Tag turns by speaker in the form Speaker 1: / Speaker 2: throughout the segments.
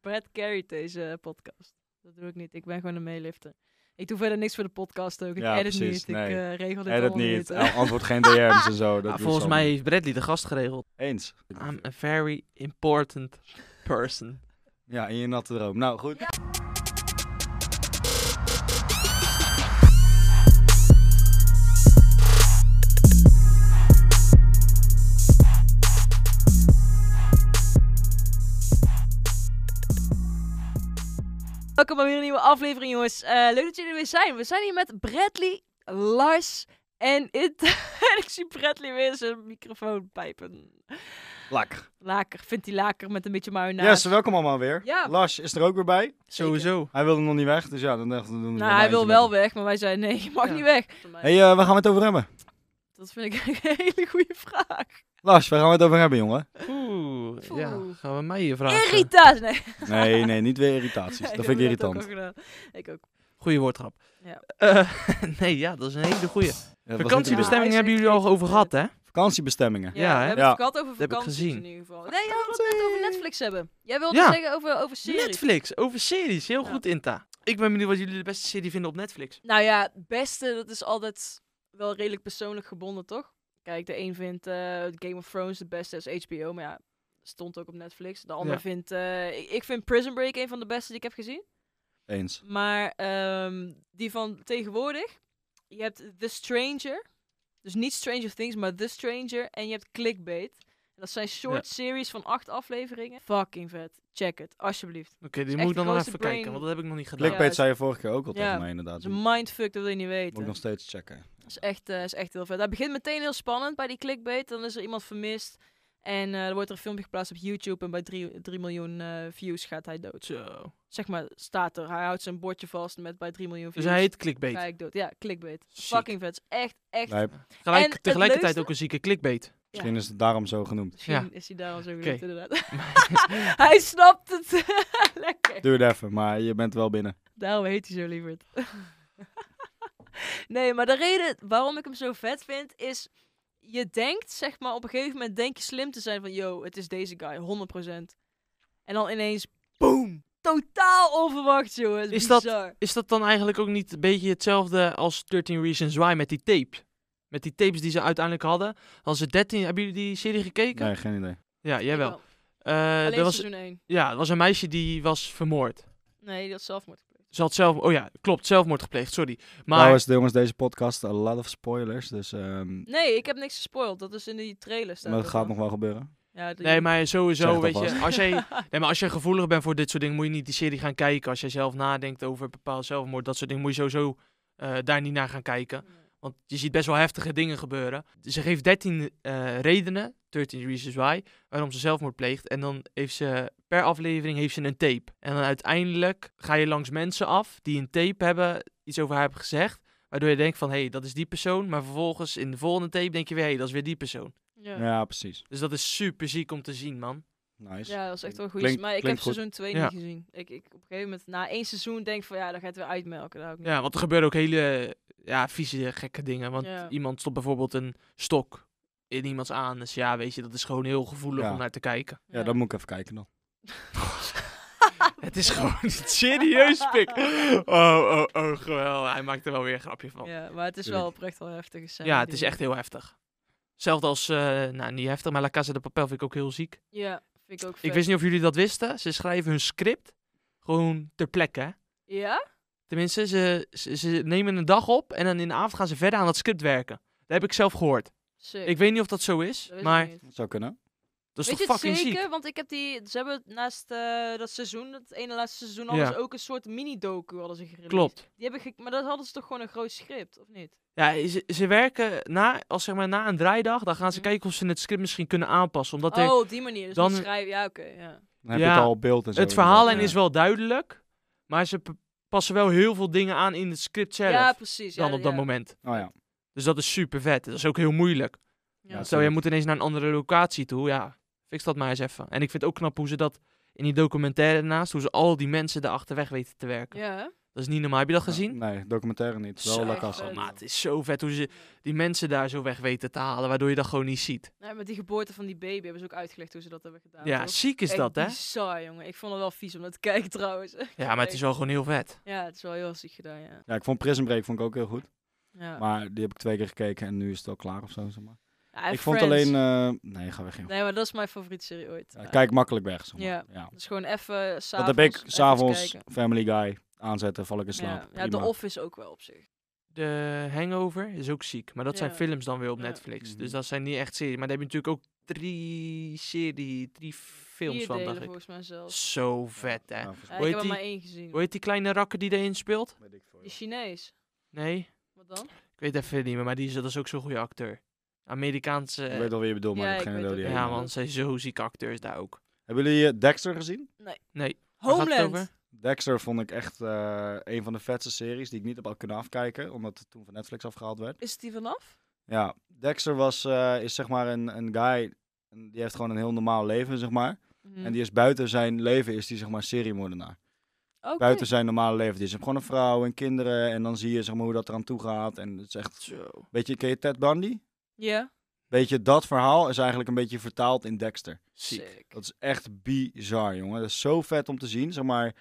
Speaker 1: Brad carryt deze podcast. Dat doe ik niet. Ik ben gewoon een meelifter. Ik doe verder niks voor de podcast ook. Ik
Speaker 2: Ja,
Speaker 1: edit
Speaker 2: precies.
Speaker 1: niet.
Speaker 2: Nee.
Speaker 1: Ik eh, regel dit
Speaker 2: Edit
Speaker 1: allemaal
Speaker 2: niet, Ah.
Speaker 1: hè.
Speaker 2: antwoord geen DM's en zo. Dat
Speaker 3: Ah,
Speaker 2: doet
Speaker 3: volgens
Speaker 2: ze
Speaker 3: mij
Speaker 2: allemaal.
Speaker 3: heeft Bradley de gast geregeld.
Speaker 2: Eens.
Speaker 1: eh,
Speaker 3: I'm a very important person.
Speaker 2: Ja, in je natte droom. Nou, goed.
Speaker 1: Welkom bij weer een nieuwe aflevering, jongens. Eh, leuk dat jullie er weer zijn. We zijn hier met Bradley, Lars en it. en ik zie Bradley weer zijn microfoon pijpen.
Speaker 2: Lak.
Speaker 1: Laker, vindt hij laker met een beetje mayonaise.
Speaker 2: Yes, welkom allemaal weer.
Speaker 1: Nou, Ja.
Speaker 2: Lars is er ook weer bij.
Speaker 3: Sowieso.
Speaker 2: Hij wilde nog niet weg, dus ja, dan dachten we... doen er
Speaker 1: Nou,
Speaker 2: maar
Speaker 1: hij
Speaker 2: eentje
Speaker 1: wil wel
Speaker 2: met
Speaker 1: weg, maar wij zeiden nee, je mag
Speaker 3: Ja.
Speaker 1: niet weg.
Speaker 2: hem. hey, eh, waar gaan we het over hebben?
Speaker 1: Dat vind ik een hele goede vraag.
Speaker 2: Lars, waar gaan we het over hebben, jongen?
Speaker 3: Oeh, ja.
Speaker 1: Oeh.
Speaker 3: Gaan we mij hier vragen?
Speaker 1: Irritatie. Nee,
Speaker 2: Nee, nee, niet weer irritaties.
Speaker 1: nee,
Speaker 2: eh. dat vind ik
Speaker 1: heb net ook
Speaker 2: irritant.
Speaker 1: al gedaan. Ik ook.
Speaker 3: Goeie woordgrap.
Speaker 1: Ja.
Speaker 3: Eh, nee, ja, dat is een hele goeie.
Speaker 2: Ja, dat was
Speaker 1: Ja,
Speaker 2: niet
Speaker 3: Vakantiebestemmingen
Speaker 1: hij is
Speaker 3: hebben
Speaker 1: echt
Speaker 3: jullie al over gehad, hè?
Speaker 1: irritant.
Speaker 2: Vakantiebestemmingen.
Speaker 1: Ja,
Speaker 3: Ja, hè?
Speaker 1: we hebben
Speaker 2: Ja.
Speaker 1: het gehad over
Speaker 3: heb ik
Speaker 1: vakanties
Speaker 3: gezien.
Speaker 1: in ieder geval. Nee, jij wilde het net over Netflix hebben. Jij wilde
Speaker 3: Ja.
Speaker 1: zeggen over, over series.
Speaker 3: Netflix, over series. Heel
Speaker 1: Ja.
Speaker 3: goed, Inta. Ik ben benieuwd wat jullie de beste serie vinden op Netflix.
Speaker 1: Nou ja, het beste, dat is altijd wel redelijk persoonlijk gebonden, toch? Kijk, de een vindt eh, Game of Thrones de beste, dat is HBO, maar ja, stond ook op Netflix. De ander
Speaker 3: Ja.
Speaker 1: vindt, eh, ik, ik vind Prison Break een van de beste die ik heb gezien.
Speaker 2: Eens.
Speaker 1: Maar ehm, die van tegenwoordig, je hebt The Stranger, dus niet Stranger Things, maar The Stranger, en je hebt Clickbait. En dat zijn short series van acht afleveringen. Fucking vet. Check het, alsjeblieft.
Speaker 3: Oké,
Speaker 1: is
Speaker 3: die
Speaker 1: echt
Speaker 3: moet ik dan
Speaker 1: de
Speaker 3: nog
Speaker 1: grootste
Speaker 3: even kijken,
Speaker 1: brain.
Speaker 3: want dat heb ik nog niet gedaan.
Speaker 2: Clickbait
Speaker 1: dat is-
Speaker 2: zei je vorige keer ook al
Speaker 1: Ja.
Speaker 2: tegen mij,
Speaker 1: Dat
Speaker 2: inderdaad.
Speaker 1: is een mindfuck, dat wil je niet
Speaker 2: Moet ik
Speaker 1: weten.
Speaker 2: nog steeds checken.
Speaker 1: Dat is echt, eh, is echt heel vet. Dat begint meteen heel spannend bij die clickbait. Dan is er iemand vermist. En eh er wordt er een filmpje geplaatst op YouTube. En bij 3 miljoen eh, views gaat hij dood.
Speaker 3: Zo.
Speaker 1: Zeg maar, staat er. Hij houdt zijn bordje vast met bij 3 miljoen
Speaker 3: Dus
Speaker 1: views.
Speaker 3: hij heet
Speaker 1: Ga
Speaker 3: clickbait.
Speaker 1: ik dood. Ja, clickbait.
Speaker 3: Ziek.
Speaker 1: Fucking vet. Is echt, echt.
Speaker 2: Lijp.
Speaker 3: Gelijk,
Speaker 1: En het
Speaker 3: tegelijkertijd
Speaker 1: leukste-
Speaker 3: ook een zieke clickbait.
Speaker 2: Misschien is het daarom zo genoemd.
Speaker 1: Misschien
Speaker 3: Ja.
Speaker 1: is hij daar al zo
Speaker 3: Oké.
Speaker 1: gelukt, inderdaad. hij snapt het. Lekker.
Speaker 2: Duur het even, maar je bent wel binnen.
Speaker 1: Daarom heet hij zo lieverd. nee, maar de reden waarom ik hem zo vet vind is... Je denkt, zeg maar, op een gegeven moment denk je slim te zijn van... Yo, het is deze guy, 100%. En dan ineens, boom! Totaal onverwacht, jongens.
Speaker 3: Is dat-
Speaker 1: Bizar.
Speaker 3: Is dat dan eigenlijk ook niet een beetje hetzelfde als 13 Reasons Why met die tape? Met die tapes die ze uiteindelijk hadden. Als ze 13, hebben jullie die serie gekeken?
Speaker 2: Nee, geen idee.
Speaker 3: Ja, jij wel.
Speaker 1: Ik
Speaker 3: Eh,
Speaker 1: Alleen
Speaker 3: er was,
Speaker 1: seizoen 1.
Speaker 3: ja, er was een meisje die was vermoord.
Speaker 1: Nee, die had zelfmoord gepleegd.
Speaker 3: Ze had zelf, oh ja, klopt, zelfmoord gepleegd, sorry. Maar
Speaker 2: Trouwens, jongens, deze podcast, a lot of spoilers. Dus, ehm,
Speaker 1: Nee, ik heb niks gespoild. Dat is in die trailer staan.
Speaker 2: maar dat gaat nog wel gebeuren.
Speaker 1: Ja, die-
Speaker 3: Nee, maar sowieso,
Speaker 2: Zeg
Speaker 3: weet
Speaker 2: het
Speaker 3: je, als jij, nee, maar als jij gevoelig bent voor dit soort dingen, moet je niet die serie gaan kijken. Als jij zelf nadenkt over bepaald zelfmoord, dat soort dingen, moet je sowieso eh, daar niet naar gaan kijken. Want je ziet best wel heftige dingen gebeuren. Ze geeft 13 eh, redenen, 13 reasons why, waarom ze zelfmoord pleegt. En dan heeft ze per aflevering heeft ze een tape. En dan uiteindelijk ga je langs mensen af die een tape hebben, iets over haar hebben gezegd. Waardoor je denkt van, hé, hey, dat is die persoon. Maar vervolgens in de volgende tape denk je weer, hé, hey, dat is weer die persoon.
Speaker 1: Ja.
Speaker 2: Ja, precies.
Speaker 3: Dus dat is super ziek om te zien, man.
Speaker 2: Nice.
Speaker 1: Ja, dat is echt wel goed.
Speaker 2: Klinkt-
Speaker 1: maar ik heb
Speaker 2: klinkt goed.
Speaker 1: seizoen 2
Speaker 3: Ja.
Speaker 1: niet gezien. Ik, ik op een gegeven moment na één seizoen denk van ja, dan gaat het weer uitmelken. Daar hou ik niet
Speaker 3: Ja, want er gebeuren ook hele ja, vieze, gekke dingen. Want
Speaker 1: Ja.
Speaker 3: iemand stopt bijvoorbeeld een stok in iemands aan. Dus ja, weet je, dat is gewoon heel gevoelig
Speaker 2: Ja.
Speaker 3: om naar te kijken.
Speaker 2: Ja, dan moet ik even kijken dan.
Speaker 3: Het is gewoon niet serieus, pik. Oh, oh, oh, geweldig. Hij maakt er wel weer een grapje van. Ja,
Speaker 1: Ja, maar het is wel oprecht wel heftig.
Speaker 3: het is echt heel heftig. Hetzelfde als, eh, nou niet heftig, maar La Casa de Papel vind ik ook heel ziek.
Speaker 1: Ja, vind ik ook vet.
Speaker 3: Ik wist niet of jullie dat wisten. Ze schrijven hun script gewoon ter plekke. hè.
Speaker 1: Ja?
Speaker 3: Tenminste, ze, ze, ze nemen een dag op en dan in de avond gaan ze verder aan dat script werken. Dat heb ik zelf gehoord.
Speaker 1: Sick.
Speaker 3: Ik weet niet of dat zo is,
Speaker 1: Dat wist ik
Speaker 3: maar
Speaker 1: niet.
Speaker 2: Dat zou kunnen.
Speaker 3: dat is
Speaker 1: Weet je
Speaker 3: toch
Speaker 1: het
Speaker 3: fucking
Speaker 1: zeker?
Speaker 3: ziek.
Speaker 1: Want ik heb die... Ze hebben naast eh, dat seizoen, dat ene laatste seizoen, hadden
Speaker 3: Ja.
Speaker 1: ze ook een soort mini-docu hadden ze gereleased.
Speaker 3: Klopt.
Speaker 1: Die hebben ge- maar dat hadden ze toch gewoon een groot script, of niet?
Speaker 3: Ja, ze, ze werken na, als zeg maar, na een draaidag, dan gaan ze
Speaker 1: Mhm.
Speaker 3: kijken of ze het script misschien kunnen aanpassen. Omdat er-
Speaker 1: oh, op die manier. Dus
Speaker 3: dan-
Speaker 1: dan schrijven... Ja, oké. ja.
Speaker 2: Dan heb
Speaker 3: Ja,
Speaker 2: je het al op beeld en zo.
Speaker 3: het verhaallijn
Speaker 2: Ja.
Speaker 3: is wel duidelijk, maar ze p- passen wel heel veel dingen aan in het script zelf
Speaker 1: ja, precies.
Speaker 3: dan
Speaker 1: ja,
Speaker 3: op dat
Speaker 1: ja.
Speaker 3: moment.
Speaker 2: Oh ja.
Speaker 3: Dus dat is super vet. Dat is ook heel moeilijk.
Speaker 1: Ja.
Speaker 2: Ja,
Speaker 3: Stel, jij
Speaker 2: tuurlijk.
Speaker 3: moet ineens naar een andere locatie toe. Ja, fix dat maar eens even. En ik vind het ook knap hoe ze dat in die documentaire daarnaast, hoe ze al die mensen erachter weg weten te werken.
Speaker 1: Ja, hè?
Speaker 3: Dat is niet normaal. Heb je dat gezien?
Speaker 2: Nee, documentaire niet.
Speaker 3: Zo
Speaker 2: Wel La Casa.
Speaker 1: vet.
Speaker 3: Maar het is zo vet hoe ze die mensen daar zo weg weten te halen, waardoor je dat gewoon niet ziet.
Speaker 1: Nee, met die geboorte van die baby hebben ze ook uitgelegd hoe ze dat hebben gedaan.
Speaker 3: Ja,
Speaker 1: toch?
Speaker 3: ziek is
Speaker 1: Echt
Speaker 3: dat, hè?
Speaker 1: Bizar, jongen. Ik vond het wel vies om dat te kijken trouwens.
Speaker 3: Ja, maar het is wel gewoon heel vet.
Speaker 1: Ja, het is wel heel ziek gedaan, ja.
Speaker 2: Ja, ik vond Prison Break vond ik ook heel goed.
Speaker 1: ja.
Speaker 2: Maar die heb ik twee keer gekeken en nu is het al klaar of zo. Zeg maar.
Speaker 1: Ja, en
Speaker 2: ik vond
Speaker 1: Friends.
Speaker 2: alleen... eh, nee, ga weg, joh.
Speaker 1: Nee, maar dat is mijn favoriete serie ooit.
Speaker 2: Ja, kijk makkelijk weg, zeg maar.
Speaker 1: Ja.
Speaker 2: Ja.
Speaker 1: Dus gewoon even s'avonds.
Speaker 2: Dat heb ik
Speaker 1: even iets
Speaker 2: s'avonds
Speaker 1: kijken.
Speaker 2: Family Guy aanzetten, val ik in slaap.
Speaker 1: Ja, ja, The
Speaker 2: Prima.
Speaker 1: Office ook wel op zich.
Speaker 3: De Hangover is ook ziek, maar dat zijn
Speaker 1: Ja.
Speaker 3: films dan weer op
Speaker 1: Ja.
Speaker 3: Netflix.
Speaker 2: Mhm.
Speaker 3: Dus dat zijn niet echt series. Maar daar heb je natuurlijk ook drie serie, drie films
Speaker 1: Vier
Speaker 3: van,
Speaker 1: delen
Speaker 3: dacht ik.
Speaker 1: volgens mij zelfs.
Speaker 3: Zo vet, hè?
Speaker 2: Ja, volgens
Speaker 1: Ja,
Speaker 2: mij.
Speaker 1: ik
Speaker 3: heet
Speaker 1: heb er
Speaker 3: die?
Speaker 1: maar één gezien.
Speaker 3: Hoe heet die kleine rakker die erin speelt?
Speaker 2: Weet ik veel,
Speaker 1: Die
Speaker 2: joh.
Speaker 1: Chinees.
Speaker 3: Nee,
Speaker 1: Wat dan?
Speaker 3: ik weet even niet meer, maar die is, dat is ook zo'n goede acteur. Amerikaanse...
Speaker 2: Ik weet wel wie je bedoelt, maar
Speaker 1: Ja,
Speaker 2: ik
Speaker 1: ik
Speaker 2: heb geen
Speaker 1: weet
Speaker 2: idee.
Speaker 1: het
Speaker 2: wie hij
Speaker 3: ja,
Speaker 1: helemaal.
Speaker 2: is.
Speaker 3: man, het zijn zo zieke acteurs daar ook.
Speaker 2: Hebben jullie eh, Dexter gezien?
Speaker 3: Nee. waar gaat het
Speaker 1: Homeland.
Speaker 3: over?
Speaker 2: Dexter vond ik echt eh, een van de vetste series die ik niet heb al kunnen afkijken, omdat het toen van Netflix afgehaald werd.
Speaker 1: Is die vanaf?
Speaker 2: Ja, Dexter was, eh, is zeg maar een, een guy, en die heeft gewoon een heel normaal leven, zeg maar.
Speaker 1: Mm. Mhm.
Speaker 2: En die is buiten zijn leven, is die zeg maar seriemoordenaar.
Speaker 1: Oké.
Speaker 2: Buiten zijn normale leven. Die is hij heeft gewoon een vrouw en kinderen en dan zie je zeg maar hoe dat eraan toe gaat. En het is echt,
Speaker 3: Zo.
Speaker 2: weet je, ken je Ted Bundy?
Speaker 1: Ja.
Speaker 2: Weet je, dat verhaal is eigenlijk een beetje vertaald in Dexter.
Speaker 3: Ziek.
Speaker 1: Sick.
Speaker 2: Dat is echt bizar, jongen. Dat is zo vet om te zien, zeg maar,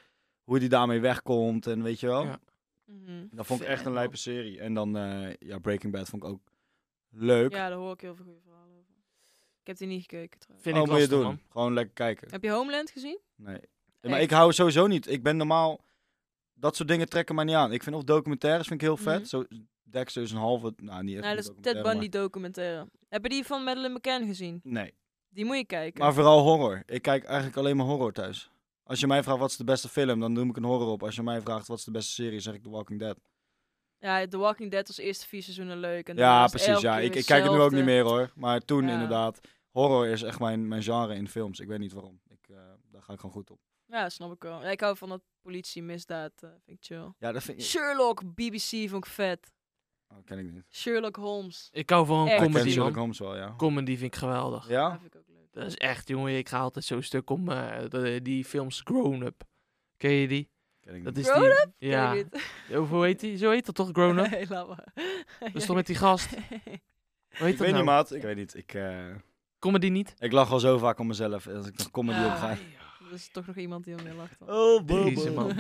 Speaker 2: hoe die daarmee wegkomt en weet je wel.
Speaker 3: Ja.
Speaker 1: Mhm.
Speaker 2: Dat vond ik echt
Speaker 3: Vet,
Speaker 2: een
Speaker 3: man.
Speaker 2: lijpe serie. En dan, eh, ja, Breaking Bad vond ik ook leuk.
Speaker 1: Ja, daar hoor ik heel veel goede verhalen over. Ik heb die niet gekeken trouwens.
Speaker 3: Vind
Speaker 2: Oh,
Speaker 3: ik
Speaker 2: moet je
Speaker 3: lastig,
Speaker 2: doen.
Speaker 3: man.
Speaker 2: Gewoon lekker kijken.
Speaker 1: Heb je Homeland gezien?
Speaker 2: Nee. Ja, maar
Speaker 1: Echt?
Speaker 2: ik hou sowieso niet. Ik ben normaal... Dat soort dingen trekken mij niet aan. Ik vind of documentaires vind ik heel vet.
Speaker 1: Mhm.
Speaker 2: Zo, Dexter is een halve... Nou, niet echt
Speaker 1: nou,
Speaker 2: een
Speaker 1: dat is Ted
Speaker 2: documentaire,
Speaker 1: Bundy documentaire. Heb je die van Madeleine McCann gezien?
Speaker 2: maar- Nee.
Speaker 1: Die moet je kijken.
Speaker 2: Maar vooral horror. Ik kijk eigenlijk alleen maar horror thuis. Als je mij vraagt wat is de beste film, dan noem ik een horror op. Als je mij vraagt wat is de beste serie, zeg ik The Walking Dead.
Speaker 1: Ja, The Walking Dead was eerste vier seizoenen leuk. En daarna
Speaker 2: ja,
Speaker 1: was
Speaker 2: precies.
Speaker 1: elke
Speaker 2: Ja.
Speaker 1: keer
Speaker 2: Ik, ik kijk het nu ook
Speaker 1: hetzelfde.
Speaker 2: niet meer hoor. Maar toen
Speaker 1: Ja.
Speaker 2: inderdaad. Horror is echt mijn, mijn genre in films. Ik weet niet waarom. Ik, eh, daar ga ik gewoon goed op.
Speaker 1: Ja, snap ik wel. Ja, Ik hou van dat politie, misdaad. eh, vind ik chill.
Speaker 2: Ja, dat vind ik...
Speaker 1: Sherlock, BBC vond ik vet.
Speaker 2: Oh, ken ik niet.
Speaker 1: Sherlock Holmes.
Speaker 3: Ik hou van
Speaker 1: Echt.
Speaker 3: een
Speaker 2: Ik ken
Speaker 3: comedy,
Speaker 2: Sherlock
Speaker 3: man.
Speaker 2: Holmes wel, ja.
Speaker 3: Comedy vind ik geweldig.
Speaker 1: Ja,
Speaker 2: Ja?
Speaker 1: vind ik ook leuk.
Speaker 3: Dat is echt, jongen, ik ga altijd zo'n stuk om eh, de- die films Grown Up. Ken je die?
Speaker 2: Ken ik
Speaker 3: Dat
Speaker 2: niet.
Speaker 3: is
Speaker 1: Grown
Speaker 3: die,
Speaker 1: Ken
Speaker 3: Ja.
Speaker 1: je dit?
Speaker 3: Of hoe heet die? Zo heet dat toch, Grown Up?
Speaker 1: Nee, laat maar.
Speaker 3: Dat is toch met die gast? Hoe heet
Speaker 2: Ik
Speaker 3: dat
Speaker 2: weet
Speaker 3: nou?
Speaker 2: niet, maat. Ik weet niet. Ik, eh,
Speaker 3: Comedy niet?
Speaker 2: ik lach al zo vaak om mezelf als ik nog comedy
Speaker 1: Ah, Ja.
Speaker 2: op ga.
Speaker 1: Er is toch nog iemand die om je lacht. dan.
Speaker 2: Oh,
Speaker 3: bobo. Deze man.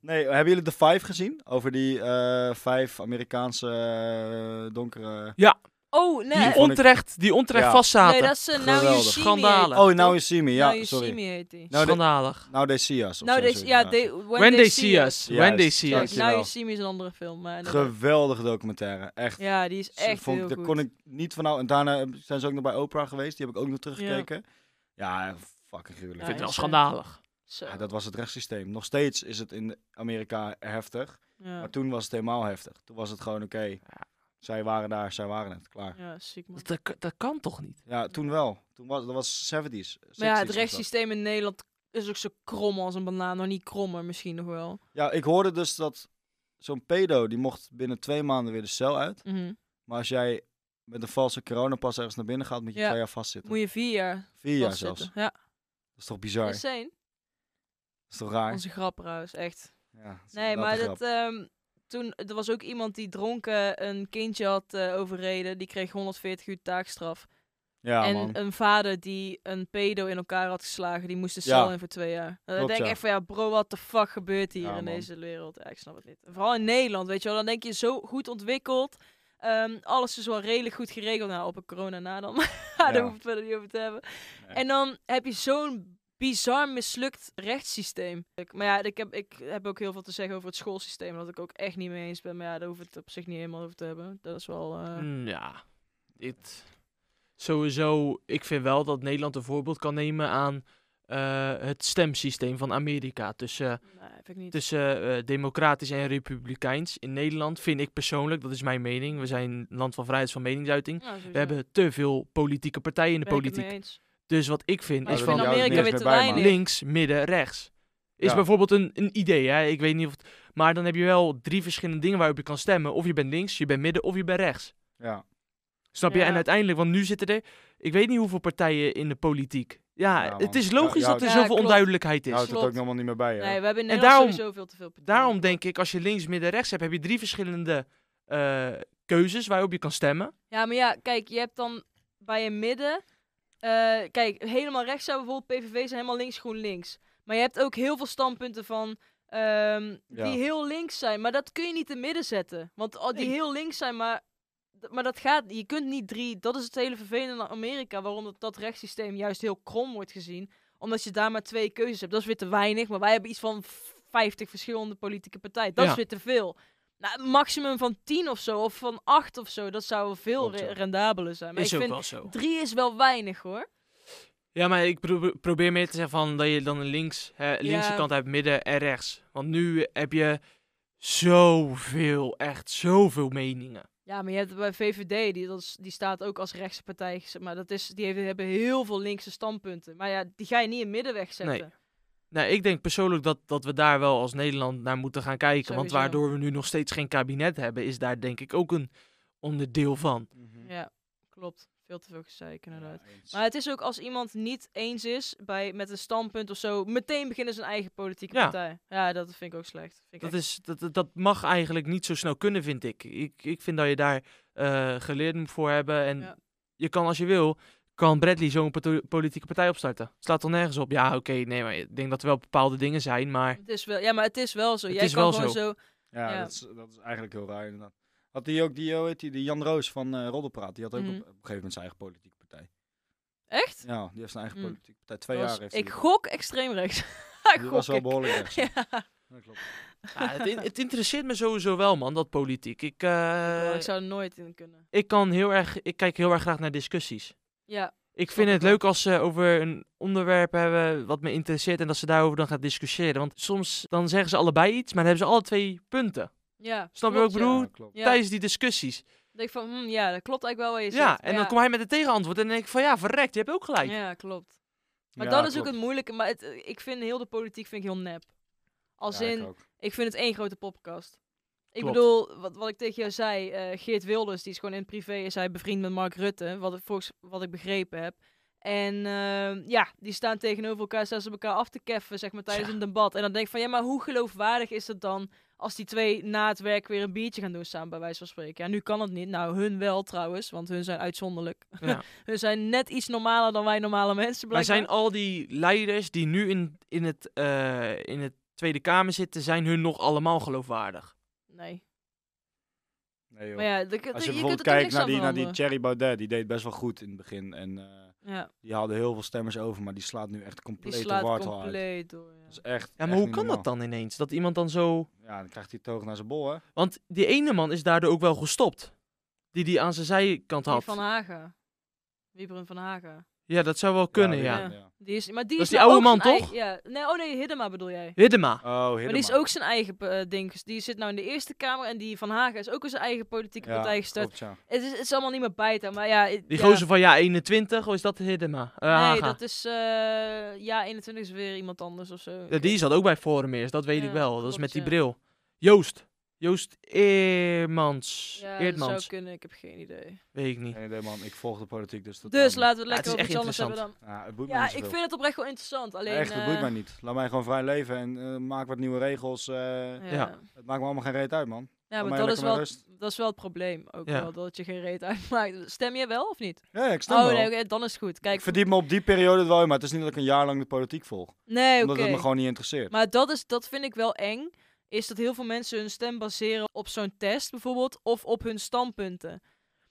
Speaker 2: Nee, hebben jullie The Five gezien? Over die eh, vijf Amerikaanse eh, donkere...
Speaker 1: oh, nee.
Speaker 2: Die
Speaker 3: Die
Speaker 2: vond ik-
Speaker 3: onterecht, die onterecht
Speaker 2: Ja.
Speaker 3: vastzaten.
Speaker 1: Nee, dat is eh, een Now You
Speaker 2: Geweldig.
Speaker 1: See
Speaker 3: Schandalen.
Speaker 1: Me.
Speaker 2: Oh, Now You See Me. Ja,
Speaker 1: Now You See
Speaker 2: sorry.
Speaker 1: Me heet die.
Speaker 2: Nou, de-
Speaker 3: Schandalig.
Speaker 2: Now They See Us. of
Speaker 1: Nou,
Speaker 2: zo,
Speaker 1: deze,
Speaker 2: zoiets.
Speaker 1: ja, they, when,
Speaker 3: When They See Us.
Speaker 2: Juist,
Speaker 3: When They See
Speaker 1: Kijk,
Speaker 3: Us.
Speaker 2: dankjewel.
Speaker 1: Now You See Me is een andere film. Maar inderdaad.
Speaker 2: Geweldige documentaire. Echt.
Speaker 1: ja, die is echt
Speaker 2: vond, ik-
Speaker 1: heel
Speaker 2: daar
Speaker 1: goed.
Speaker 2: kon ik niet van... houden. En daarna eh, zijn ze ook nog bij Oprah geweest. Die heb ik ook nog teruggekeken. Ja, fucking
Speaker 3: Ik
Speaker 2: gruwelijk.
Speaker 1: Ja, eh.
Speaker 3: vind het wel
Speaker 1: is,
Speaker 3: schandalig.
Speaker 1: Zo.
Speaker 2: Ja, dat was het rechtssysteem. Nog steeds is het in Amerika heftig.
Speaker 1: ja.
Speaker 2: Maar toen was het helemaal heftig. Toen was het gewoon oké. Zij waren daar, zij waren het. Klaar.
Speaker 1: ja, ziek man.
Speaker 3: Dat, dat, dat kan toch niet?
Speaker 2: Ja, toen wel. Toen was, dat was 70s.
Speaker 1: Maar ja, het
Speaker 2: 60s was dat.
Speaker 1: rechtssysteem in Nederland is ook zo krom als een banaan. Nou, niet krommer misschien nog wel.
Speaker 2: Ja, ik hoorde dus dat zo'n pedo, die mocht binnen twee maanden weer de cel uit.
Speaker 1: Mhm.
Speaker 2: Maar als jij met een valse coronapas ergens naar binnen gaat, moet je
Speaker 1: Ja.
Speaker 2: twee jaar vastzitten.
Speaker 1: Moet je vier jaar
Speaker 2: Vier jaar
Speaker 1: vastzitten. Dus-
Speaker 2: zelfs.
Speaker 1: Ja,
Speaker 2: Dat is toch bizar? Dat
Speaker 1: insane.
Speaker 2: is toch raar?
Speaker 1: Onze grappenhuis, echt.
Speaker 2: Ja, dat is
Speaker 1: Nee,
Speaker 2: inderdaad
Speaker 1: maar
Speaker 2: een
Speaker 1: dat,
Speaker 2: grap.
Speaker 1: ehm, toen, er was ook iemand die dronken een kindje had eh, overreden. Die kreeg 140 uur taakstraf.
Speaker 2: Ja,
Speaker 1: en
Speaker 2: man.
Speaker 1: een vader die een pedo in elkaar had geslagen, die moest de
Speaker 2: Ja.
Speaker 1: cel in voor twee jaar. Dan
Speaker 2: Klopt,
Speaker 1: denk ik
Speaker 2: ja.
Speaker 1: echt van, ja bro, wat de fuck gebeurt hier
Speaker 2: Ja,
Speaker 1: in
Speaker 2: man.
Speaker 1: deze wereld? Ja, ik snap het niet. Vooral in Nederland, weet je wel. Dan denk je, zo goed ontwikkeld. Ehm, alles is wel redelijk goed geregeld. Nou, op een corona na dan. Daar
Speaker 2: Ja.
Speaker 1: hoeven we het verder niet over te hebben.
Speaker 2: Nee.
Speaker 1: En dan heb je zo'n bizar mislukt rechtssysteem. Ik- Maar ja, ik heb, ik heb ook heel veel te zeggen over het schoolsysteem. Dat ik ook echt niet mee eens ben. Maar ja, daar hoef ik het op zich niet helemaal over te hebben. Dat is wel... eh,
Speaker 3: Mm, Ja, dit. Sowieso, ik vind wel dat Nederland een voorbeeld kan nemen aan eh, het stemsysteem van Amerika. Dus, eh, Tussen
Speaker 1: nee, vind ik niet.
Speaker 3: tussen eh, democratisch en republikeins. In Nederland vind ik persoonlijk, dat is mijn mening, we zijn een land van vrijheid van meningsuiting.
Speaker 1: Nou,
Speaker 3: We
Speaker 1: sowieso.
Speaker 3: hebben te veel politieke partijen in de
Speaker 1: Ben ik het mee
Speaker 3: politiek.
Speaker 1: eens.
Speaker 3: Dus wat ik vind
Speaker 1: Maar
Speaker 3: is
Speaker 1: ik
Speaker 2: daar
Speaker 1: vind
Speaker 3: van
Speaker 2: jou het
Speaker 1: Amerika
Speaker 2: niks
Speaker 1: weer
Speaker 2: meer
Speaker 1: te
Speaker 2: bij, man.
Speaker 1: weinig.
Speaker 3: links, midden, rechts. Is
Speaker 2: Ja.
Speaker 3: bijvoorbeeld een, een idee, hè? ik weet niet of het- Maar dan heb je wel drie verschillende dingen waarop je kan stemmen. Of je bent links, je bent midden of je bent rechts.
Speaker 2: Ja.
Speaker 3: Snap je?
Speaker 1: Ja.
Speaker 3: En uiteindelijk, want nu zitten er... ik weet niet hoeveel partijen in de politiek. Ja,
Speaker 2: Ja, man.
Speaker 3: het is
Speaker 2: Ja,
Speaker 3: logisch
Speaker 2: ja,
Speaker 3: dat er
Speaker 1: ja,
Speaker 3: zoveel
Speaker 1: klopt.
Speaker 3: onduidelijkheid
Speaker 2: Je
Speaker 3: is.
Speaker 2: houdt het
Speaker 1: Klopt.
Speaker 2: ook helemaal niet meer bij. hè?
Speaker 1: Nee, we hebben in
Speaker 3: En
Speaker 1: Nederland
Speaker 3: daarom-
Speaker 1: sowieso veel te veel partijen.
Speaker 3: Daarom denk ik, als je links, midden, rechts hebt, heb je drie verschillende eh, keuzes waarop je kan stemmen.
Speaker 1: Ja, maar ja, kijk, je hebt dan bij een midden... eh, kijk, helemaal rechts zou bijvoorbeeld PVV zijn, helemaal links GroenLinks. Maar je hebt ook heel veel standpunten van... ehm,
Speaker 2: Ja.
Speaker 1: Die heel links zijn, maar dat kun je niet in midden zetten. Want al die
Speaker 3: Nee.
Speaker 1: heel links zijn, maar, d- maar dat gaat... Je kunt niet drie... Dat is het hele vervelende aan Amerika, waarom dat, dat rechtssysteem juist heel krom wordt gezien. Omdat je daar maar twee keuzes hebt. Dat is weer te weinig, maar wij hebben iets van 50 verschillende politieke partijen. Dat
Speaker 3: Ja.
Speaker 1: is weer te veel. Nou, een maximum van 10 of zo, of van 8 of zo, dat zou veel
Speaker 2: Klopt, ja.
Speaker 1: re- rendabeler zijn. Maar
Speaker 3: is
Speaker 1: ik
Speaker 3: ook
Speaker 1: vind
Speaker 3: wel zo.
Speaker 1: 3 is wel weinig hoor.
Speaker 3: Ja, maar ik pro- probeer meer te zeggen van dat je dan een links, hè, linkse
Speaker 1: Ja.
Speaker 3: kant hebt, midden en rechts. Want nu heb je zoveel, echt zoveel meningen.
Speaker 1: Ja, maar je hebt bij VVD, die, dat is- die staat ook als rechtse partij, gez- maar dat is, die heeft, hebben heel veel linkse standpunten. Maar ja, die ga je niet in middenweg zetten.
Speaker 3: Nee. Nou, ik denk persoonlijk dat, dat we daar wel als Nederland naar moeten gaan kijken. Want
Speaker 1: Sowieso.
Speaker 3: waardoor we nu nog steeds geen kabinet hebben, is daar denk ik ook een onderdeel van.
Speaker 2: Mhm.
Speaker 1: Ja, klopt. Veel te veel gezeik inderdaad.
Speaker 2: Ja, eens.
Speaker 1: Maar het is ook als iemand niet eens is bij, met een standpunt of zo, meteen beginnen zijn eigen politieke
Speaker 3: Ja.
Speaker 1: partij. Ja, dat vind ik ook slecht. Vind ik
Speaker 3: Dat, is, dat, dat- dat mag eigenlijk niet zo snel kunnen, vind ik. Ik, ik vind dat je daar eh geleerd voor hebben. En
Speaker 1: Ja.
Speaker 3: je kan, als je wil, kan Bradley zo'n pato- politieke partij opstarten. Slaat toch nergens op? Ja, oké, nee, maar ik denk dat er wel bepaalde dingen zijn, maar...
Speaker 1: Het is wel, ja, maar het is wel zo.
Speaker 3: Het
Speaker 1: Jij
Speaker 3: is
Speaker 1: kan
Speaker 3: wel
Speaker 1: gewoon
Speaker 3: zo.
Speaker 1: zo.
Speaker 2: Ja,
Speaker 1: Ja.
Speaker 2: Dat, is, dat is eigenlijk heel raar inderdaad. Had die ook die, hoe heet die, die Jan Roos van eh Roddelpraat, die had ook
Speaker 1: Mhm.
Speaker 2: op, op een gegeven moment zijn eigen politieke partij.
Speaker 1: Echt?
Speaker 2: Ja, die heeft zijn eigen
Speaker 1: Mm.
Speaker 2: politieke partij. Twee
Speaker 1: Dat was-
Speaker 2: jaar heeft
Speaker 1: ik
Speaker 2: die-
Speaker 1: gok extreem rechts.
Speaker 2: die was wel behoorlijk rechts. ja.
Speaker 1: Ja.
Speaker 2: dat klopt.
Speaker 3: Ja, Ah, het, in- het interesseert me sowieso wel, man, dat politiek. Ik, eh,
Speaker 1: ik zou er nooit in kunnen.
Speaker 3: ik, kan heel erg, ik kijk heel erg graag naar discussies.
Speaker 1: Ja,
Speaker 3: Ik vind
Speaker 1: ik
Speaker 3: het
Speaker 1: wel.
Speaker 3: leuk als ze over een onderwerp hebben wat me interesseert en dat ze daarover dan gaan discussiëren. Want soms dan zeggen ze allebei iets, maar dan hebben ze alle twee punten.
Speaker 1: ja.
Speaker 3: Snap je wat ik
Speaker 1: klopt, ja.
Speaker 3: bedoel?
Speaker 2: Ja, klopt.
Speaker 1: Ja.
Speaker 3: Tijdens die discussies.
Speaker 1: denk ik van, hm, ja, dat klopt eigenlijk wel wat je zegt.
Speaker 3: ja, en dan komt hij met een tegenantwoord en dan denk ik van ja, verrekt, je hebt ook gelijk.
Speaker 1: Ja, klopt. Maar
Speaker 2: Ja,
Speaker 1: dat is ook
Speaker 2: klopt.
Speaker 1: het moeilijke. Maar het, eh, ik vind heel de politiek vind ik heel nep. Als
Speaker 2: Ja, ik
Speaker 1: in, ik,
Speaker 2: ook.
Speaker 1: vind het één grote poppenkast. Ik
Speaker 3: Klopt.
Speaker 1: bedoel, wat, wat ik tegen jou zei, eh, Geert Wilders, die is gewoon in het privé, is hij bevriend met Mark Rutte, wat, ik- volgens wat ik begrepen heb. En eh, ja, die staan tegenover elkaar, staan ze elkaar af te keffen, zeg maar, tijdens
Speaker 3: Tja.
Speaker 1: een debat. En dan denk ik van, ja, maar hoe geloofwaardig is dat dan als die twee na het werk weer een biertje gaan doen samen, bij wijze van spreken? Ja, nu kan het niet. Nou, hun wel trouwens, want hun zijn uitzonderlijk.
Speaker 3: Ja.
Speaker 1: hun zijn net iets normaler dan wij normale mensen,
Speaker 3: Maar
Speaker 1: blijkbaar.
Speaker 3: zijn al die leiders die nu in, in, het, eh, in het Tweede Kamer zitten, zijn hun nog allemaal geloofwaardig?
Speaker 1: Nee.
Speaker 2: Nee, joh.
Speaker 1: Maar ja, de, de-
Speaker 2: Als
Speaker 1: je
Speaker 2: je
Speaker 1: kunt
Speaker 2: bijvoorbeeld
Speaker 1: er toch
Speaker 2: kijkt
Speaker 1: niks
Speaker 2: naar
Speaker 1: aan
Speaker 2: die, naar die
Speaker 1: veranderen.
Speaker 2: Thierry Baudet, die deed best wel goed in het begin. En eh,
Speaker 1: Ja,
Speaker 2: die haalde heel veel stemmers over, maar die slaat nu echt
Speaker 1: die
Speaker 2: compleet de
Speaker 1: slaat
Speaker 2: wartel uit.
Speaker 1: compleet door. Ja.
Speaker 2: Dat is echt
Speaker 3: Ja, maar
Speaker 2: echt
Speaker 3: hoe
Speaker 2: niet
Speaker 3: kan dat
Speaker 2: normaal.
Speaker 3: dan ineens? Dat iemand dan zo...
Speaker 2: Ja, dan krijgt hij toog naar zijn bol, hè?
Speaker 3: Want die ene man is daardoor ook wel gestopt. Die die aan zijn zijkant
Speaker 1: Die
Speaker 3: had.
Speaker 1: van Hagen. Wieberen van Hagen.
Speaker 3: Ja, dat zou wel kunnen,
Speaker 2: die-
Speaker 3: ja.
Speaker 1: ja. Die is, maar die
Speaker 3: Dat
Speaker 1: is
Speaker 3: is die
Speaker 1: nou
Speaker 3: oude
Speaker 1: ook
Speaker 3: man,
Speaker 1: zijn
Speaker 3: toch?
Speaker 1: eigen- ja. Nee, oh nee, Hiddema bedoel jij.
Speaker 3: Hiddema.
Speaker 2: Oh,
Speaker 1: Maar die is
Speaker 2: Hiddema.
Speaker 1: ook zijn eigen eh, ding. ges- Die zit nou in de Eerste Kamer en die van Hagen is ook in zijn eigen politieke
Speaker 2: Ja,
Speaker 1: partij gestart.
Speaker 2: klopt, ja.
Speaker 1: Het is, het is allemaal niet meer bij te houden, maar ja... het-
Speaker 3: Die
Speaker 1: ja.
Speaker 3: gozer van ja 21, of is dat Hiddema? Eh,
Speaker 1: Nee,
Speaker 3: Haga.
Speaker 1: dat is... eh, ja, 21 is weer iemand anders of zo.
Speaker 3: Ja, die zat ook bij Forum eerst, dat weet
Speaker 1: Ja,
Speaker 3: ik wel. Dat is
Speaker 1: klopt,
Speaker 3: met die
Speaker 1: ja.
Speaker 3: bril. Joost. Joost Eermans.
Speaker 1: Ja, dat
Speaker 3: Eerdmans.
Speaker 1: zou kunnen. Ik heb geen idee.
Speaker 3: Weet ik niet.
Speaker 2: Geen idee, man. Ik volg de politiek, dus dat...
Speaker 1: Dus laten we
Speaker 3: Ja,
Speaker 1: het lekker
Speaker 3: het is
Speaker 1: over
Speaker 3: echt
Speaker 1: iets anders hebben dan...
Speaker 2: Ja, het boeit me
Speaker 1: Ja,
Speaker 2: niet
Speaker 1: ik
Speaker 2: zoveel.
Speaker 1: vind het oprecht wel interessant. Alleen...
Speaker 2: Echt, dat boeit
Speaker 1: eh,
Speaker 2: mij niet. Laat mij gewoon vrij leven en eh, maak wat nieuwe regels. eh,
Speaker 3: Ja.
Speaker 2: Het maakt me allemaal geen reet uit, man.
Speaker 1: Ja,
Speaker 2: Laat
Speaker 1: maar
Speaker 2: mij
Speaker 1: dat
Speaker 2: lekker
Speaker 1: is,
Speaker 2: met
Speaker 1: wel,
Speaker 2: rust.
Speaker 1: dat is wel het probleem. Ook
Speaker 3: Ja.
Speaker 1: wel, dat je geen reet uitmaakt. Stem je wel of niet?
Speaker 2: Ja, ik snap
Speaker 1: Oh
Speaker 2: wel.
Speaker 1: nee, oké, dan is het goed. Kijk,
Speaker 2: ik verdiep me op die periode wel in, maar het is niet dat ik een jaar lang de politiek volg.
Speaker 1: nee, oké.
Speaker 2: Omdat het me gewoon niet interesseert.
Speaker 1: Maar dat, is, dat vind ik wel eng. Is dat heel veel mensen hun stem baseren op zo'n test bijvoorbeeld. Of op hun standpunten.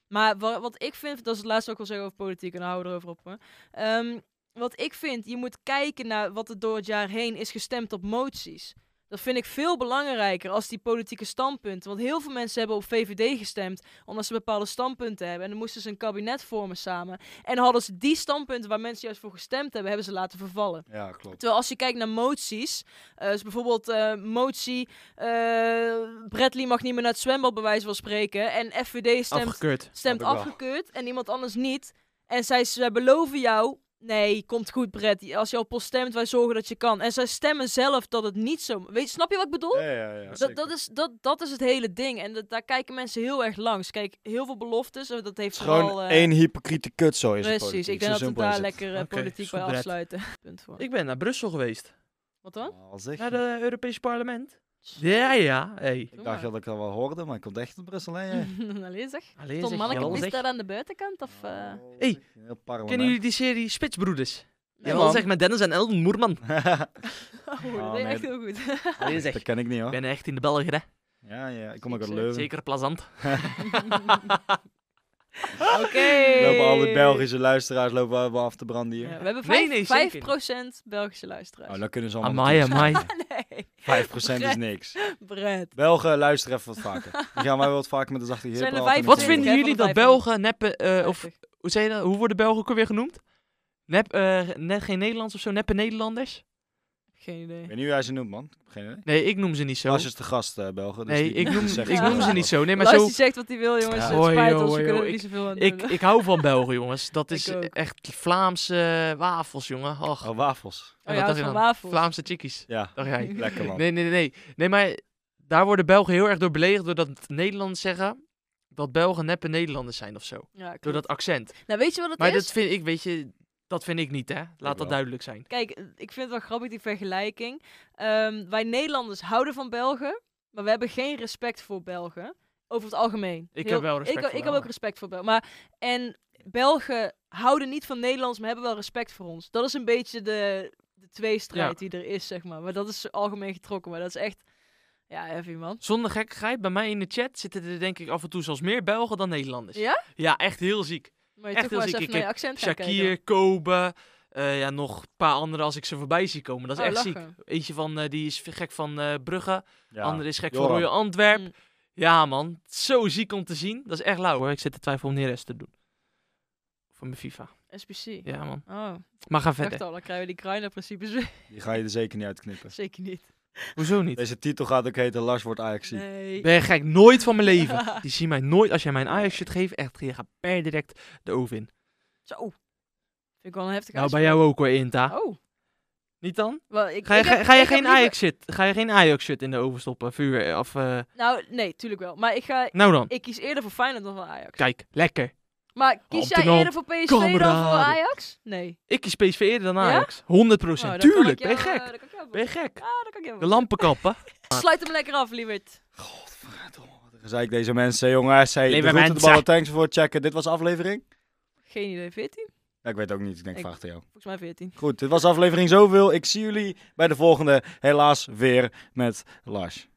Speaker 1: Maar wa- wat ik vind, dat is het laatste wat ik wil zeggen over politiek. En dan houden we erover op hoor. Ehm, wat ik vind, je moet kijken naar wat er door het jaar heen is gestemd op moties. Dat vind ik veel belangrijker als die politieke standpunten. Want heel veel mensen hebben op VVD gestemd omdat ze bepaalde standpunten hebben. En dan moesten ze een kabinet vormen samen. En hadden ze die standpunten waar mensen juist voor gestemd hebben, hebben ze laten vervallen.
Speaker 2: Ja, klopt.
Speaker 1: Terwijl als je kijkt naar moties, eh, dus bijvoorbeeld eh, motie, eh Bradley mag niet meer naar het zwembad bij wijze van spreken en FVD stemt,
Speaker 3: Afgekeurd.
Speaker 1: stemt
Speaker 2: Snap ik wel.
Speaker 1: afgekeurd en iemand anders niet. En zij, zij beloven jou Nee, komt goed, Brett. Als je al post stemt, wij zorgen dat je kan. En zij stemmen zelf dat het niet zo... Weet, je- snap je wat ik bedoel?
Speaker 2: Ja, ja, ja.
Speaker 1: Dat, dat, is, dat, dat is het hele ding. En dat, daar kijken mensen heel erg langs. Kijk, heel veel beloftes. eh, Dat heeft
Speaker 2: Het is gewoon
Speaker 1: vooral, eh,
Speaker 2: één hypocriete kutzooi is het
Speaker 1: Precies,
Speaker 2: politiek.
Speaker 1: ik denk
Speaker 2: Zo
Speaker 1: dat we
Speaker 2: simpel
Speaker 1: daar
Speaker 2: is het.
Speaker 1: lekker eh,
Speaker 3: Oké,
Speaker 1: politiek bij
Speaker 3: soepret.
Speaker 1: afsluiten. Punt voor.
Speaker 3: Ik ben naar Brussel geweest.
Speaker 1: Wat dan?
Speaker 2: Oh, wat zeg
Speaker 3: Naar
Speaker 2: je?
Speaker 3: het Europese parlement. Ja, ja. Hey.
Speaker 1: Doe
Speaker 2: Ik dacht
Speaker 1: maar.
Speaker 2: dat ik dat wel hoorde, maar ik komt echt uit Brussel. Hè, jij?
Speaker 1: Allee zeg.
Speaker 3: Alleen
Speaker 1: Tom
Speaker 3: zeg,
Speaker 1: Manneke,
Speaker 3: jawel,
Speaker 1: is
Speaker 3: zeg.
Speaker 1: daar aan de buitenkant? Of, eh,
Speaker 2: Oh,
Speaker 3: Hey,
Speaker 2: zeg, een heel parlement.
Speaker 3: Kennen jullie die serie Spitsbroeders?
Speaker 1: nee?
Speaker 3: Ja,
Speaker 2: man.
Speaker 3: zeg met Dennis en Elden Moerman.
Speaker 1: Oh, dat
Speaker 2: Oh,
Speaker 1: deed
Speaker 2: nee.
Speaker 1: echt heel goed.
Speaker 3: Alleen zeg,
Speaker 2: Dat
Speaker 3: ik
Speaker 2: ken ik niet hoor.
Speaker 3: ben echt in de Belgen, hè.
Speaker 2: Ja, ja, ik kom ook uit
Speaker 1: Zeker,
Speaker 2: Leuven.
Speaker 3: Zeker plezant.
Speaker 1: Oké.
Speaker 2: Lopen al die Belgische luisteraars lopen we allemaal af te branden hier.
Speaker 1: Ja, we hebben 5%,
Speaker 3: Nee, nee, zeker niet.
Speaker 1: Belgische luisteraars.
Speaker 2: Oh, dan kunnen ze allemaal
Speaker 3: Amai,
Speaker 2: naartoe.
Speaker 3: amai.
Speaker 1: nee,
Speaker 2: 5% is niks.
Speaker 1: Brett.
Speaker 2: Belgen, luister even wat vaker. Dan gaan wij wat vaker met de zachte hier
Speaker 1: Zijn er
Speaker 2: praten.
Speaker 1: vijf-
Speaker 2: en dan
Speaker 3: Wat
Speaker 2: komen we
Speaker 1: Twintig,
Speaker 3: vinden
Speaker 1: hè,
Speaker 3: jullie
Speaker 1: van
Speaker 3: dat
Speaker 1: de vijfhonderd.
Speaker 3: Belgen neppen... eh, of hoe, zei je dat? hoe worden Belgen ook alweer genoemd? Nep, eh, net geen Nederlands of zo, neppe Nederlanders?
Speaker 1: Geen idee.
Speaker 2: Ik weet niet hoe jij ze noemt, man. Ik heb geen idee.
Speaker 3: Nee, ik noem ze niet zo.
Speaker 2: Lars is de gast, eh, Belgen. dus
Speaker 3: Nee,
Speaker 2: die-
Speaker 3: ik
Speaker 2: die
Speaker 3: noem,
Speaker 2: zegt
Speaker 3: ik
Speaker 1: wel
Speaker 3: noem ze
Speaker 2: wat.
Speaker 3: niet zo. Nee, maar
Speaker 1: Luister,
Speaker 3: zo...
Speaker 1: die zegt wat hij wil, jongens.
Speaker 2: Ja.
Speaker 1: Het
Speaker 3: Hoi,
Speaker 1: spijt
Speaker 3: joh,
Speaker 1: ons, we
Speaker 3: hoi,
Speaker 1: kunnen
Speaker 3: joh,
Speaker 1: er niet zoveel aan
Speaker 3: Ik,
Speaker 1: doen.
Speaker 3: ik hou van Belgen, jongens. Dat
Speaker 1: Ik
Speaker 3: is
Speaker 1: ook.
Speaker 3: echt Vlaamse wafels, jongen. Och.
Speaker 2: Oh, wafels.
Speaker 1: Oh,
Speaker 3: En
Speaker 1: ja, het
Speaker 3: wat dacht
Speaker 1: is
Speaker 3: je
Speaker 1: van
Speaker 3: dan?
Speaker 1: wafels.
Speaker 3: Vlaamse chickies,
Speaker 2: Ja,
Speaker 3: dacht jij.
Speaker 2: lekker man.
Speaker 3: Nee, nee, nee, nee. Nee, maar daar worden Belgen heel erg door beledigd doordat Nederlanders zeggen dat Belgen neppe Nederlanders zijn of zo.
Speaker 1: Ja,
Speaker 3: Door
Speaker 1: klopt.
Speaker 3: dat accent.
Speaker 1: Nou, weet je wat het
Speaker 3: Maar
Speaker 1: is?
Speaker 3: dat vind ik, weet je, dat vind ik niet, hè. Laat
Speaker 2: wel.
Speaker 3: dat duidelijk zijn.
Speaker 1: Kijk, eh, ik vind het wel grappig die vergelijking. Ehm, wij Nederlanders houden van Belgen, maar we hebben geen respect voor Belgen. Over het algemeen.
Speaker 3: Ik heb wel respect
Speaker 1: ik,
Speaker 3: voor
Speaker 1: Ik heb
Speaker 3: Belgen.
Speaker 1: ook respect voor Belgen. Maar, en Belgen houden niet van Nederlands, maar hebben wel respect voor ons. Dat is een beetje de, de tweestrijd die er is, zeg maar. Maar dat is algemeen getrokken. Maar dat is echt, ja, heavy man.
Speaker 3: Zonder gekkigheid, bij mij in de chat zitten er denk ik af en toe zelfs meer Belgen dan Nederlanders.
Speaker 1: Ja?
Speaker 3: Ja, echt heel ziek.
Speaker 1: Maar je
Speaker 3: Echt
Speaker 1: toch maar eens
Speaker 3: heel ziek.
Speaker 1: even naar
Speaker 3: Ik
Speaker 1: je
Speaker 3: heb
Speaker 1: accent gaan kijken.
Speaker 3: Shakir, Kobe, eh, ja, nog een paar anderen als ik ze voorbij zie komen. Dat is
Speaker 1: Oh,
Speaker 3: echt ziek.
Speaker 1: lachen.
Speaker 3: Eentje van, eh, die is gek van eh, Brugge,
Speaker 2: Ja.
Speaker 3: andere is gek
Speaker 2: Joram.
Speaker 3: van Royal Antwerp.
Speaker 1: Mm.
Speaker 3: Ja man, zo ziek om te zien. Dat is echt lauw hoor. Ik zit te twijfelen om Neres te doen. Voor mijn FIFA.
Speaker 1: SPC.
Speaker 3: Ja man.
Speaker 1: Oh,
Speaker 3: Maar ga
Speaker 1: dacht
Speaker 3: verder.
Speaker 1: al, dan krijgen we die Kruiner-principes weer.
Speaker 2: Die ga je er zeker niet uitknippen.
Speaker 1: Zeker niet.
Speaker 3: Hoezo niet?
Speaker 2: Deze titel gaat ook heten Lars wordt ajax
Speaker 1: Nee.
Speaker 3: Ben je gek? Nooit van mijn leven. Die zien mij nooit. Als jij mijn Ajax shirt geeft, echt, je gaat per direct de oven in.
Speaker 1: Zo. Vind ik wel een heftige
Speaker 3: Nou, bij
Speaker 1: uitspraak.
Speaker 3: jou ook hoor, Inta.
Speaker 1: Oh.
Speaker 3: Niet dan?
Speaker 1: Wel, ik,
Speaker 3: Ga je,
Speaker 1: ik heb-
Speaker 3: ga, ga je
Speaker 1: ik heb
Speaker 3: geen
Speaker 1: liever-
Speaker 3: Ajax shit, ga je geen Ajax shit in de oven stoppen? Vuur of... eh,
Speaker 1: Nou, nee, tuurlijk wel. Maar ik, ga,
Speaker 3: Nou dan.
Speaker 1: ik kies eerder voor Feyenoord dan voor Ajax.
Speaker 3: Kijk, lekker.
Speaker 1: Maar kies jij
Speaker 3: Antenal,
Speaker 1: eerder voor PSV dan voor
Speaker 3: kameraden.
Speaker 1: Ajax? Nee.
Speaker 3: Ik kies PSV eerder dan
Speaker 1: Ja?
Speaker 3: Ajax. 100%.
Speaker 1: Nou, dan kan ik
Speaker 3: Oh, Tuurlijk, ben
Speaker 1: jou,
Speaker 3: je gek?
Speaker 1: eh, dan kan ik jou voor-
Speaker 3: Ben je gek?
Speaker 1: Ah, dan kan ik jou
Speaker 3: De
Speaker 1: voor-
Speaker 3: lampenkappen.
Speaker 1: Sluit hem lekker af, lieverd.
Speaker 2: Zei ik deze mensen, jongens. Hey,
Speaker 3: Lieve
Speaker 2: de groeten, de
Speaker 3: mensen.
Speaker 2: ballen, thanks voor het checken. Dit was aflevering?
Speaker 1: Geen idee, 14?
Speaker 2: Ja, ik weet ook niet, ik denk
Speaker 1: Ik-
Speaker 2: vraag het aan jou.
Speaker 1: Volgens mij 14.
Speaker 2: Goed, dit was aflevering zoveel. Ik zie jullie bij de volgende. Helaas weer met Lars.